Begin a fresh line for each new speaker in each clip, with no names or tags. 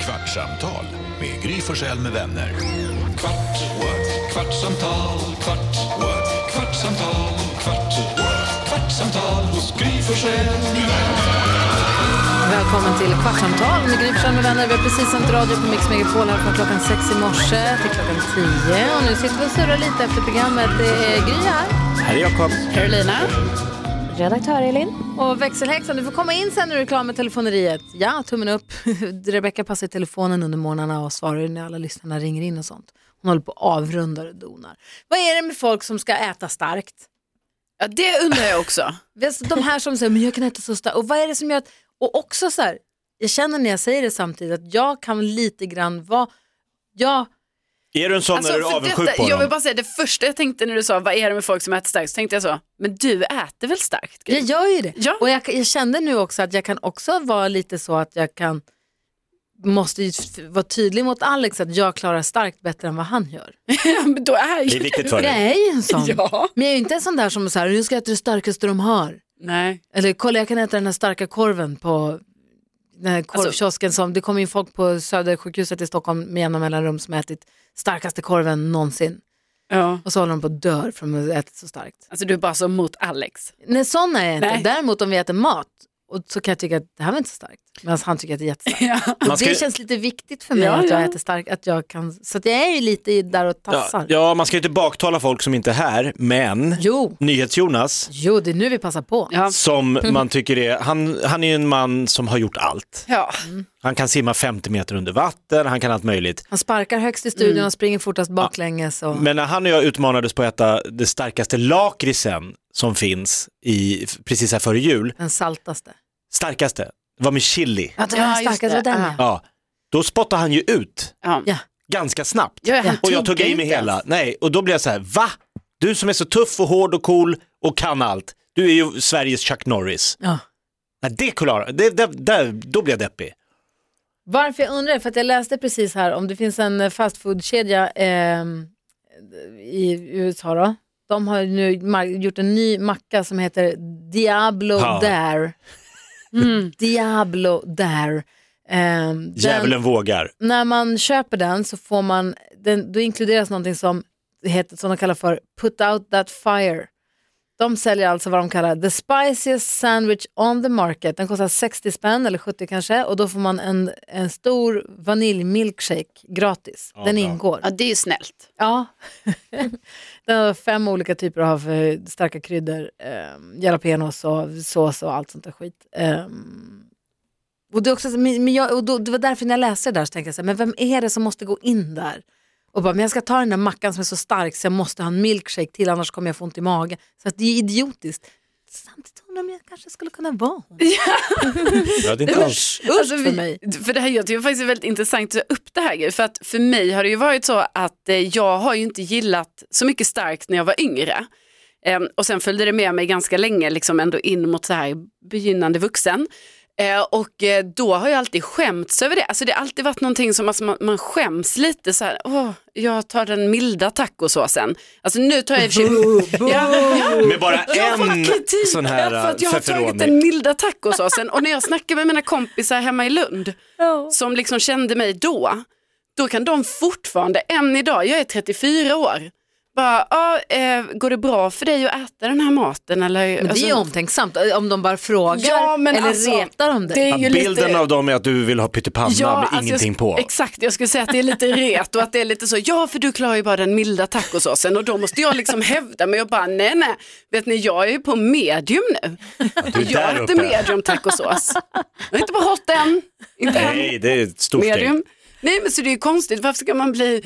Kvartsamtal med Gry Forssell med vänner. Kvart, what? kvartsamtal, kvart, what? kvartsamtal, kvart, what? kvartsamtal hos Gry Forssell med vänner.
Välkommen till Kvartsamtal med Gry Forssell med vänner. Vi har precis sänt radio på Mix Megapol här från klockan sex i morse till klockan tio. Och nu sitter vi och surrar lite efter programmet. Det är Gry här.
Här är Jakob.
Carolina. Redaktör Elin. Och växelhäxan, du får komma in sen när du är klar med telefoneriet. Ja, tummen upp. Rebecka passar i telefonen under morgnarna och svarar när alla lyssnarna ringer in och sånt. Hon håller på och avrundar och donar. Vad är det med folk som ska äta starkt?
Ja, det undrar jag också.
Vet du, De här som säger, men jag kan äta så starkt. Och vad är det som gör att, och också så här, jag känner när jag säger det samtidigt att jag kan lite grann vara, jag,
Är du en sån när du är
Alltså, för
avundsjuk
detta,
på
jag vill
honom?
bara säga det första jag tänkte när du sa vad är det med folk som äter starkt så tänkte jag så, men du äter väl starkt? Gry?
jag gör ju det.
Ja.
Och jag, jag känner nu också att jag kan också vara lite så att jag kan, måste ju f- vara tydlig mot Alex att jag klarar starkt bättre än vad han gör.
Ja, men då är
Det
ju
är viktigt för
Jag
dig.
är ju en sån.
Ja.
Men jag är ju inte en sån där som så här, nu ska jag äta det starkaste de har.
Nej.
Eller kolla jag kan äta den här starka korven på den här korvkiosken som, det kommer ju folk på Södersjukhuset i Stockholm med jämna mellanrum som har ätit starkaste korven någonsin.
Ja.
Och så håller de på att dö från att ha ätit så starkt.
Alltså du är bara så mot Alex.
Nej sådana är jag inte.
Nej.
Däremot om vi äter mat och så kan jag tycka att det här var inte så starkt. Medan han tycker att det är jättestarkt.
Ja.
Och
Man ska,
Det känns lite viktigt för mig
Ja,
att jag
ja.
äter starkt. Att jag kan, så att jag är ju lite i- där och
ja,
tassar.
ja, man ska ju inte baktala folk som inte är här, men
Jo.
NyhetsJonas,
jo, det är nu vi passar på.
Ja.
som
Mm.
man tycker är, han, han är ju en man som har gjort allt.
Ja.
Han kan simma 50 meter under vatten, han kan allt möjligt.
Han sparkar högst i studion och springer fortast baklänges. Och...
Men när han och jag utmanades på att äta det starkaste lakritsen som finns i, precis här före jul,
Den saltaste.
starkaste, var med chili.
Ja, det var
Ja,
den
just
starkaste. Det
det.
var den
Ja.
ja.
Ja, då spottade han ju ut
Ja.
Ja.
ganska snabbt.
Ja,
Och
han
jag
tuggar
tuggade i
inte
mig
ens.
hela. Nej, och då blev jag så här, va? Du som är så tuff och hård och cool och kan allt. Du är ju Sveriges Chuck Norris.
Ja.
Nej, det klarar det, det, där, Då blev jag deppig.
Varför jag undrar, för att jag läste precis här om det finns en fastfoodkedja ehm, i USA då. De har ju nu mar- gjort en ny macka som heter Diablo
Ja.
Dare. Mm, Diablo Dare. Ehm, den-
Djävulen vågar.
när man köper den så får man, den, då inkluderas någonting som, heter, som de kallar för put out that fire. De säljer alltså vad de kallar the spiciest sandwich on the market. Den kostar 60 spänn eller 70 kanske och då får man en, en stor vaniljmilkshake gratis.
Ja,
den
bra.
ingår.
ja, det är ju snällt.
Ja. den har fem olika typer av eh, starka kryddor, eh, jalapenos och sås och allt sånt där skit. Eh, och det, är också, så- men men jag, och då, det var därför när jag läste det där så tänkte jag så här, men vem är det som måste gå in där? Och bara, men jag ska ta den där mackan som är så stark så jag måste ha en milkshake till annars kommer jag få ont i magen. Så att det är idiotiskt. Samtidigt undrar jag om jag kanske skulle kunna vara hon.
Ja, det är inte alls.
Usch för
Alltså, vi-
mig.
För det här, jag tycker faktiskt det är väldigt intressant att ta upp det här. Gry. För att för mig har det ju varit så att eh, jag har ju inte gillat så mycket starkt när jag var yngre. Ehm, och sen följde det med mig ganska länge, liksom ändå in mot så här begynnande vuxen. Eh, och eh, då har jag alltid skämts över det. Alltså det har alltid varit någonting som alltså, man, man skäms lite så här, åh, jag tar den milda tacosåsen. Alltså nu tar jag i och för sig... Ja, ja,
Med bara
jag får
en
kritik
sån här
för att jag har tagit den
feferoni.
milda tacosåsen och när jag snackar med mina kompisar hemma i Lund som liksom kände mig då, då kan de fortfarande, än idag, jag är 34 år, bara, ah, eh, går det bra för dig att äta den här maten? Eller,
Men det är ju
Alltså,
omtänksamt eh, om de bara frågar
Ja, men
eller
alltså,
retar de dig.
det är
Ja,
ju
bilden
lite...
av dem är att du vill ha pyttipanna med
alltså jag
ingenting
sk-
på.
Exakt, jag skulle säga att det är lite ret och att det är lite så, ja för du klarar ju bara den milda tacosåsen och då måste jag liksom hävda men jag bara nej nej, vet ni jag är ju på medium nu.
Du är
Jag
där
äter
uppe.
medium tacosås. Jag är inte på hot än, inte än.
Nej, det är ett stort steg.
Medium. Nej men så det är ju konstigt, varför ska man bli,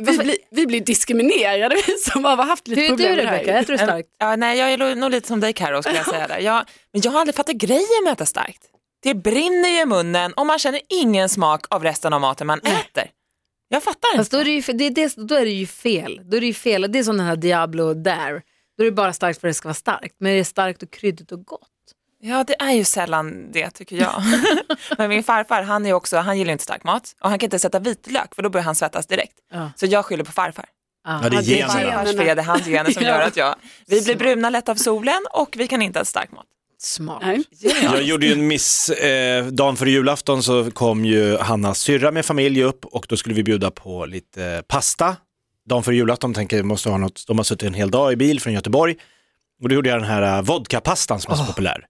vi, blir- vi blir diskriminerade vi som har haft lite
Hur är
problem
du
med det här.
Rebecka, äter du starkt?
Ja, nej, jag är nog lite som dig Karo skulle jag säga där. Jag, men jag har aldrig fattat grejen med att äta starkt. Det brinner ju i munnen och man känner ingen smak av resten av maten man äter. Jag fattar
Fast
inte.
då är det ju, det, det, då är det ju fel. Då är det ju fel. Det är som den här Diablo där. Då är det bara starkt för att det ska vara starkt. Men det är starkt och kryddigt och gott.
Ja, det är ju sällan det tycker jag. men min farfar, han, är ju också, han gillar ju inte stark mat och han kan inte sätta vitlök för då börjar han svettas direkt.
Ja.
Så jag skyller på farfar.
Ah,
Ja, det är
Det är
generna.
farfars fel, det är hans gener som
Ja.
gör att jag... Vi blir bruna lätt av solen och vi kan inte äta stark mat.
Smart.
Nej.
Jag gjorde ju en miss, eh, dagen före julafton så kom ju Hannas syrra med familj upp och då skulle vi bjuda på lite eh, pasta. Dagen före julafton tänker jag måste ha något, de har suttit en hel dag i bil från Göteborg och då gjorde jag den här eh, vodkapastan som är så populär.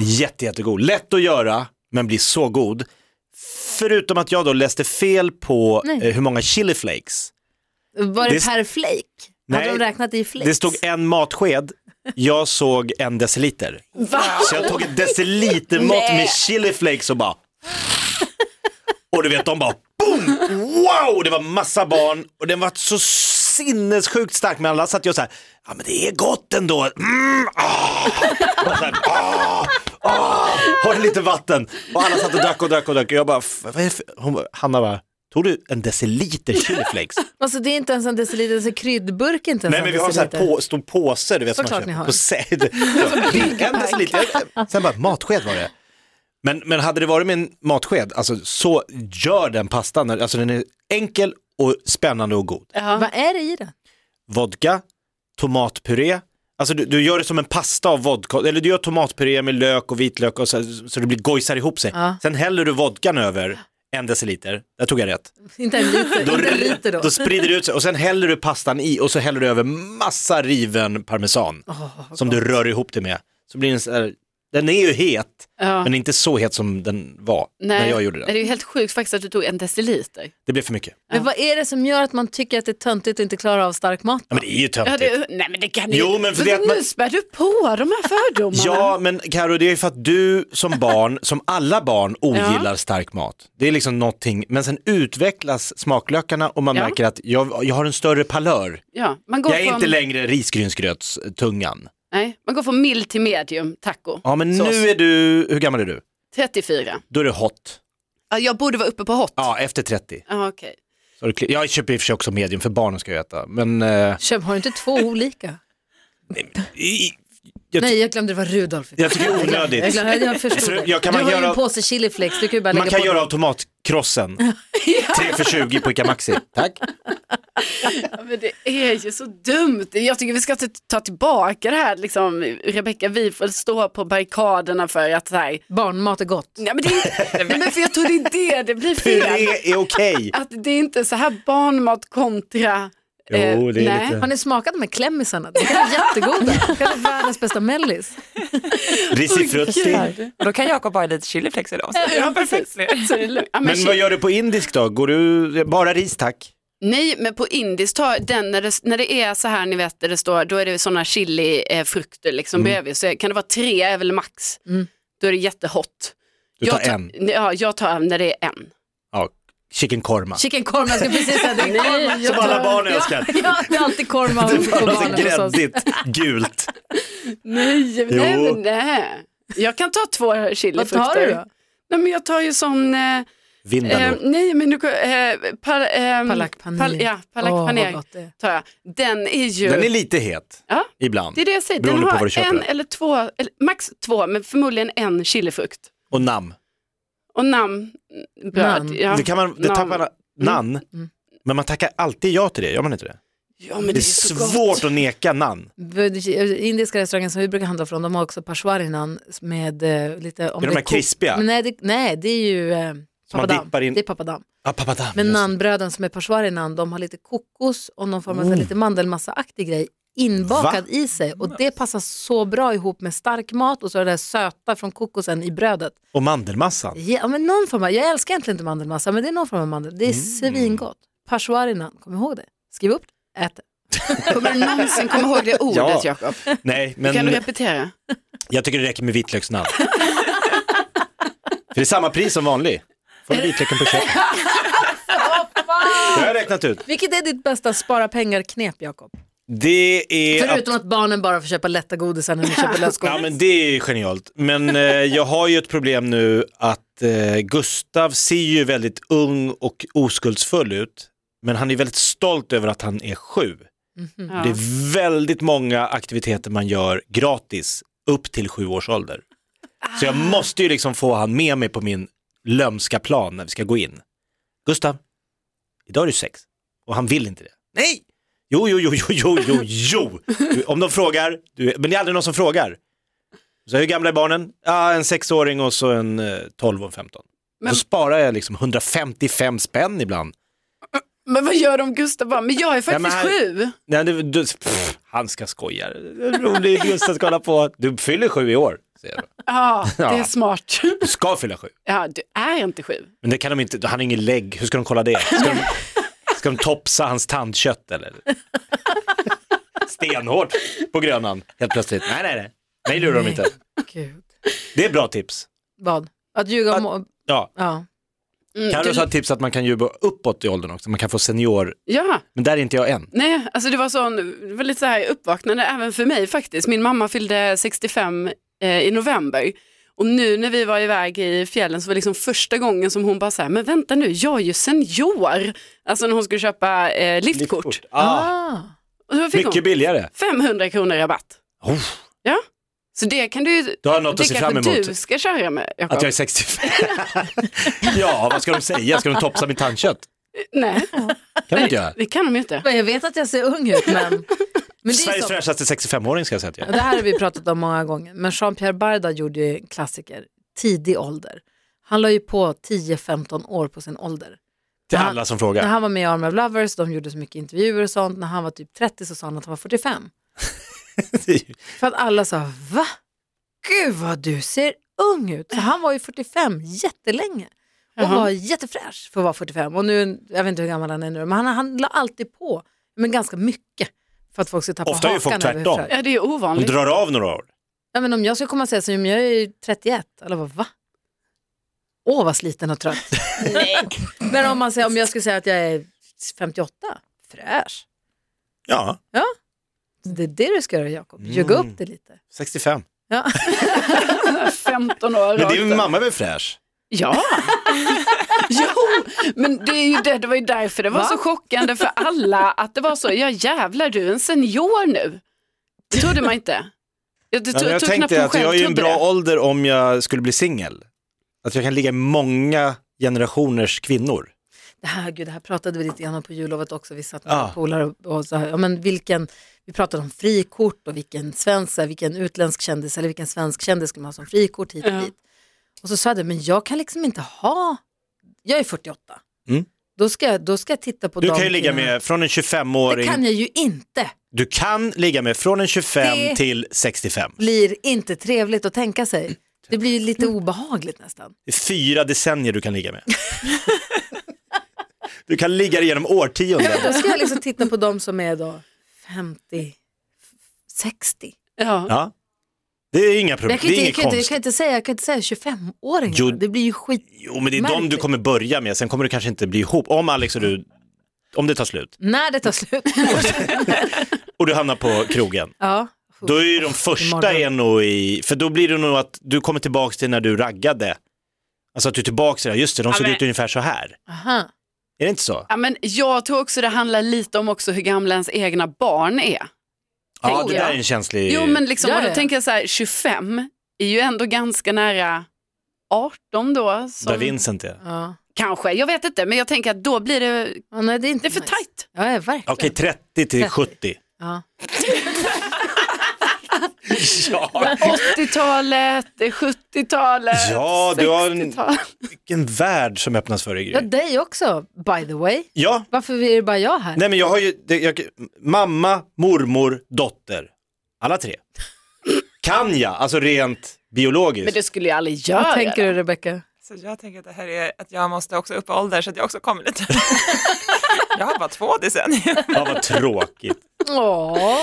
Jätte, jättegod, lätt att göra men blir så god. Förutom att jag då läste fel på
Nej.
eh, hur många chili flakes.
Var det,
Det-
per flake?
Nej,
Hade de räknat i flakes?
Det stod en matsked, jag såg en deciliter.
Va?
Så jag tog ett decilitermått
Nej.
med chili flakes och bara... Och du vet, de bara boom! Wow! Det var massa barn och den var så sinnessjukt stark. Men alla satt ju och så här, ja men det är gott ändå. Mm, ah. Och så här, ah, ah. Har du lite vatten? Och alla satt och drack och drack och drack. Och jag bara, "F- vad är det för-" Hon bara, Hanna bara, tog du en deciliter chili flakes?
Alltså det är inte ens en deciliter, alltså kryddburk är inte ens
Nej
en
men vi har en sån här
deciliter.
på, stor påse du vet
Såklart ni har. Alltså,
på säd. en deciliter, sen bara matsked var det. Men, men hade det varit med en matsked, alltså så gör den pastan, alltså den är enkel och spännande och god.
Vad är det i den?
Vodka, tomatpuré, alltså du, du gör det som en pasta av vodka, eller du gör tomatpuré med lök och vitlök och så, så det blir gojsar ihop sig.
Ja.
Sen häller du vodkan över en deciliter, där tog jag rätt.
Inte en liter, inte en liter då.
Då sprider det ut sig och sen häller du pastan i och så häller du över massa riven parmesan som du rör ihop det med. Så blir den så här, den är ju het,
Ja.
men inte så het som den var när jag gjorde
Det
den.
är ju helt sjukt faktiskt att du tog en deciliter.
Det blev för mycket.
Men vad är det som gör att man tycker att det är töntigt och inte klarar av stark mat?
Ja, men det är ju
Ja,
töntigt.
det, nej men det kan ju-
Typ. Jo, men för det att man-
Nu spär du på de här fördomarna.
Ja, men Karo, det är ju för att du som barn, som alla barn, ogillar stark mat. Det är liksom någonting, men sen utvecklas smaklökarna och man
Ja.
märker att jag, jag har en större palör.
Ja, man går
Jag är
från,
inte längre risgrynsgrötstungan.
Nej, man går från mild till medium taco.
Ja, men
Sås.
nu är du, hur gammal är du?
34.
Då är du hot.
Ja, jag borde vara uppe på hot.
Ja, efter 30.
Ja, okej.
Så har du kli- jag köper i och för sig också medium för barnen ska ju äta. Men eh,
Köp, har du inte två olika?
i- jag, ty-
Nej, jag glömde det var Rudolf.
jag tycker det är
Jag,
onödigt.
glömde, jag förstod
Fru-
det.
jag kan
du
man
har ju
göra-
en påse chiliflex, du kan ju bara lägga
Man kan
på
göra
den.
av tomatkrossen. 3 för 20 på ICA Maxi. Tack.
Ja, men det är ju så dumt. Jag tycker vi ska t- ta tillbaka det här. Liksom, Rebecka, vi får stå på barrikaderna för att så här,
Barnmat är gott.
Nej men, det är, nej, men för jag tror det är det det blir fel.
Puré är okej.
Att det är inte så här barnmat kontra... eh,
Jo, det är
nej.
lite-
Har ni smakat de här klämmisarna? De är jättegoda. Det är världens bästa mellis.
Risifrutti.
Och då kan Jakob ha lite chiliflex idag. Så.
Ja, perfekt. Så är det lugnt. Ja, men
Men vad gör du på indisk då? Går du bara ris tack?
Nej, men på indiskt, ta den när det, när det är så här, ni vet, där det står, då är det sådana chilifrukter liksom
Mm.
bredvid, så kan det vara tre är väl max,
Mm.
då är det jättehot.
Du tar
jag tar
en.
Ja, jag tar när det är en.
Ja, chicken korma.
Chicken korv, jag ska precis säga det. är korv.
Nej, jag
Som alla
tar,
barn älskar.
Ja, det är alltid korv man
Det
på
var något
barnen hos oss.
Alltså, gräddigt, gult.
nej, nej,
Jo.
men nej. Jag kan ta två
Vad
chilifrukter.
tar du då?
Nej, men jag tar ju sån, eh, eh,
Vindaloo.
nej men nu, eh, par, eh,
Palak paneer.
Pal, ja, palak
Åh, vad
paneer
gott det är.
tar jag. Den är ju...
Den är lite het
ja.
ibland.
Det är det jag säger, den
Beroende på vad du
har
köper
en
den.
eller två, eller max två, men förmodligen en chilifrukt.
Och nam.
Och namn, bröd.
Namn.
Ja.
Det kan man, det
Namn.
tappar man, nan. Men man tackar alltid ja till det, gör man inte det?
ja, men det,
Det är
är så
svårt
Gott.
att neka nan.
Indiska restaurangen som vi brukar handla från, de har också pashwarinan med eh, lite... Om
Det är de här
kok-
krispiga.
Men nej, det, nej, det är ju eh,
man
papadam.
dippar in-
Det är papadam.
Ah, papadam,
Men
just det.
nanbröden som är pashwarinan, de har lite kokos och någon form av
Oh.
mm. lite mandelmassaaktig grej inbakad i sig. Och det passar så bra ihop med stark mat och så är det där söta från kokosen i brödet.
Och mandelmassan.
Ja, men någon form av, jag älskar egentligen inte mandelmassa, men det är någon form av mandel. Det är
Mm.
svingott. Pashwarinan, kom ihåg det. Skriv upp det, ät det.
Kommer du någonsin komma ihåg det ordet
Ja.
Jakob?
Nej,
Kan du
men
repetera?
jag tycker det räcker med vitlöksnann. För det är samma pris som vanlig. Får du vitlöken på köpet. Det har jag räknat ut.
Vilket är ditt bästa spara pengar-knep, Jakob?
Det är att
Förutom att barnen bara får köpa lätta godisar när de köper lösgodis.
Ja men det är genialt. Men eh, jag har ju ett problem nu att eh, Gustav ser ju väldigt ung och oskuldsfull ut. Men han är väldigt stolt över att han är sju.
Ja.
Mm. Det är väldigt många aktiviteter man gör gratis upp till sju års ålder. Så
Ah.
jag måste ju liksom få han med mig på min lömska plan när vi ska gå in. Gustav, idag är du sex och han vill inte det. Nej! Jo, jo, jo, jo, jo, jo, jo. Du, Om de frågar, du, men det är aldrig någon som frågar. Så hur gamla är barnen? Ja, en sexåring och så en eh, 12 och en 15.
Men-
Då sparar jag liksom 155 spänn ibland.
Men vad gör de Gustav bara, men jag är
men
faktiskt
här-
sju.
Nej, du, du, pff, han ska skoja. Rolig Gustav ska hålla på. Du fyller sju i år. säger jag då.
Ja, det är
Ja.
smart.
Du ska fylla sju.
Ja, du är inte sju.
Men det kan de inte, han har ingen lägg, hur ska de kolla det? Ska de, ska de topsa hans tandkött eller? Stenhårt på Grönan helt plötsligt. Nej, nej, nej. Nej, lurar de inte.
Gud.
Det är bra tips.
Vad? Att ljuga om...
Ja.
Ja.
Mm,
Carro
du-
sa ett tips att man kan ljuga uppåt i åldern också, man kan få senior,
Ja,
men där är inte jag än.
nej, alltså det var, sån, det var lite så här uppvaknande även för mig faktiskt. Min mamma fyllde 65 eh, i november och nu när vi var iväg i fjällen så var det liksom första gången som hon bara så här, men vänta nu, jag är ju senior. Alltså när hon skulle köpa eh, liftkort.
Ah,
Och så fick
mycket
hon
billigare.
500 kronor rabatt.
Oh,
Så det kan du ju,
då har jag något att
det
se fram
kanske
emot.
du ska köra med Jakob.
Att jag är 65. ja, vad ska de säga? Ska de topsa mitt tandkött?
Nej,
kan de inte göra.
det kan de ju inte.
Men Jag vet att jag ser ung ut men... men det, är
Sveriges
så.
fräschaste 65-åring ska jag säga att jag är.
det här har vi pratat om många gånger. Men Jean-Pierre Barda gjorde ju en klassiker, tidig ålder. Han la ju på 10-15 år på sin ålder.
Till
Han-
alla som
När
frågar.
han var med i Arm of Lovers, de gjorde så mycket intervjuer och sånt. När han var typ 30 så sa han att han var 45. För att alla sa, va? Gud vad du ser ung ut. Så han var ju 45 jättelänge och
Jaha.
var jättefräsch för att vara 45. Och nu, jag vet inte hur gammal han är nu, men han, han la alltid på, men ganska mycket. För att folk ska tappa
Ofta är ju
hakan.
folk
över hur
tvärtom.
fräsch-
Ja, det är ju
De
ovanligt.
drar av några år.
Ja, men om jag skulle komma och säga så, men jag är ju 31, alla bara va? Åh vad sliten och trött. men om, man säger, om jag skulle säga att jag är 58, fräsch.
Ja,
Det är det du ska göra Jakob, ljuga
Mm.
upp det lite.
65.
Ja.
15 år
Men
rakt
din
upp.
mamma är väl fräsch?
Ja, jo, men det, är ju det, det var ju därför det var så chockande för alla att det var så, ja jävlar du är en senior nu. Det trodde man inte. Jag, det,
jag
tog knappt
tänkte
hon
att jag är
själv
ju en
trodde
bra
det.
ålder om jag skulle bli singel. Att jag kan ligga i många generationers kvinnor.
Det här, gud, det här pratade vi lite grann om på jullovet också. Vi satt med
Ah.
polare och, och så här, ja, men vilken, vi pratade om frikort och vilken svensk, så här, vilken utländsk kändis eller vilken svensk kändis skulle man ha som frikort hit och
Ja.
dit. Och så sa jag, det, men jag kan liksom inte ha, jag är 48.
Mm.
Då, ska jag, då ska jag titta på
Du
de
kan ju ligga
kvinnorna.
med från en
Det
25-åring,
kan jag ju inte.
du kan ligga med från en 25
Det-
till 65.
Blir inte trevligt att tänka sig. Det blir ju lite obehagligt nästan.
Det är fyra decennier du kan ligga med. du kan ligga genom årtionden.
Då ska jag liksom titta på de som är då 50, 60.
Ja.
Ja. Det är inga problem,
Jag
det
kan, inte, jag,
är inget
kan inte, jag,
konstigt.
kan inte säga, jag kan inte säga 25-åringar,
Jo.
det blir ju skit.
Jo, men det är de du
Märkligt.
kommer börja med, sen kommer du kanske inte bli ihop. Om Alex och du, om det tar slut
När det tar slut.
och du hamnar på krogen,
ja.
då är ju de första
Imorgon.
är nog i, för då blir det nog att du kommer tillbaks till när du raggade. Alltså att du är tillbaks till det, här. just det, de såg
men-
ut ungefär så här.
Aha.
Är det inte så?
Ja, men jag tror också det handlar lite om också hur gamla ens egna barn är.
Ja,
tänker
det där
jag.
är en känslig...
Jo men liksom,
Ja,
och då
ja.
tänker jag så här, 25 är ju ändå ganska nära 18 då.
Där
Som,
Vincent är.
Ja.
kanske, jag vet inte, men jag tänker att då blir det,
Ja, nej, det är
det
inte
är för
nice.
tajt.
Ja, ja, verkligen.
Okej, 30 till 70.
Ja.
Ja,
80-talet, 70-talet,
Ja, du har en-
60-talet.
vilken värld som öppnas för dig.
ja,
Gry.
dig också, by the way.
Ja,
Varför är det bara jag här?
nej men jag har ju, det, jag, mamma, mormor, dotter. Alla tre. Kan jag, alltså rent biologiskt.
Men det skulle jag aldrig göra.
Vad tänker du Rebecca?
Så jag tänker att det här är att jag måste också upp i ålder så att jag också kommer lite. jag har bara två decennier.
Ja, vad tråkigt.
Åh,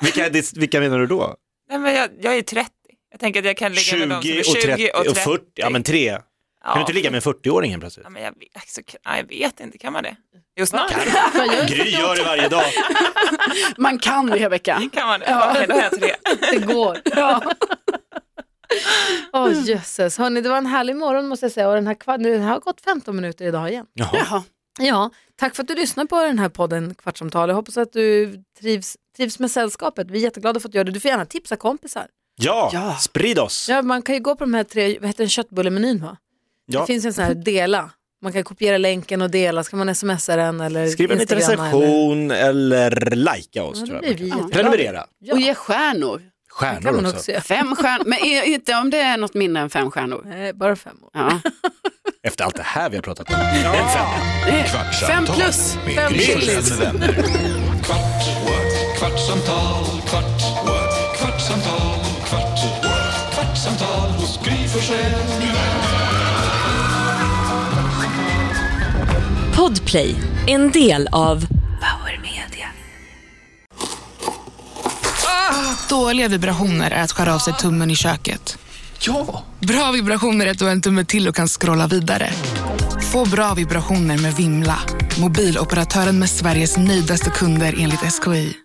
Vilka, det- vilka menar du då?
Nej, men jag, jag är 30. Jag tänker att jag kan ligga
20
med
och
dem som är 20
30 och 40, ja men tre. Kan
Ja.
du inte ligga med en 40-åring helt plötsligt?
Ja, men jag, vet- alltså, nej, jag vet inte, kan man det? Jo, snart
fan, jag
Gry gör det varje dag.
Man kan Rebecka.
kan man det. Okej, då har jag tre.
det går.
Ja.
Åh jösses, hörni det var en härlig morgon måste jag säga och den här, kvar- nu, det har gått 15 minuter idag igen.
Jaha.
Jaha.
Ja, tack för att du lyssnar på den här podden Kvartsamtal. Jag hoppas att du trivs, trivs med sällskapet. Vi är jätteglada för att du gör det. Du får gärna tipsa kompisar.
Ja,
Ja.
sprid oss.
Ja, man kan ju gå på de här tre, vad heter den, köttbullemenyn va? Det
Ja.
finns en sån här dela. Man kan kopiera länken och dela, ska man smsa den eller
Skriv en liten
instagramma eller-
recension eller likea oss.
Ja, det
tror jag.
blir vi
man kan.
jätteglada.
Prenumerera.
Ja.
Och ge stjärnor.
Det kan
Stjärnor
man
också.
också göra.
Fem stjärnor, men är- inte om det är något mindre än fem stjärnor.
Nej, Eh, bara fem år.
Ja.
Efter allt det här vi har pratat om. En femma.
Fem
Kvartsamtal
plus.
med
Fem
Gry
plus.
Forssell med vänner. Kvart, what? kvartsamtal, kvart, what? kvartsamtal, kvart, what? kvartsamtal hos Gry Forssell med vänner.
Podplay, en del av Power Media.
Dåliga vibrationer är att skära av sig tummen i köket.
Ja!
Bra vibrationer är att du har en tumme till och kan scrolla vidare. Få bra vibrationer med Vimla. Mobiloperatören med Sveriges nöjdaste kunder enligt SKI.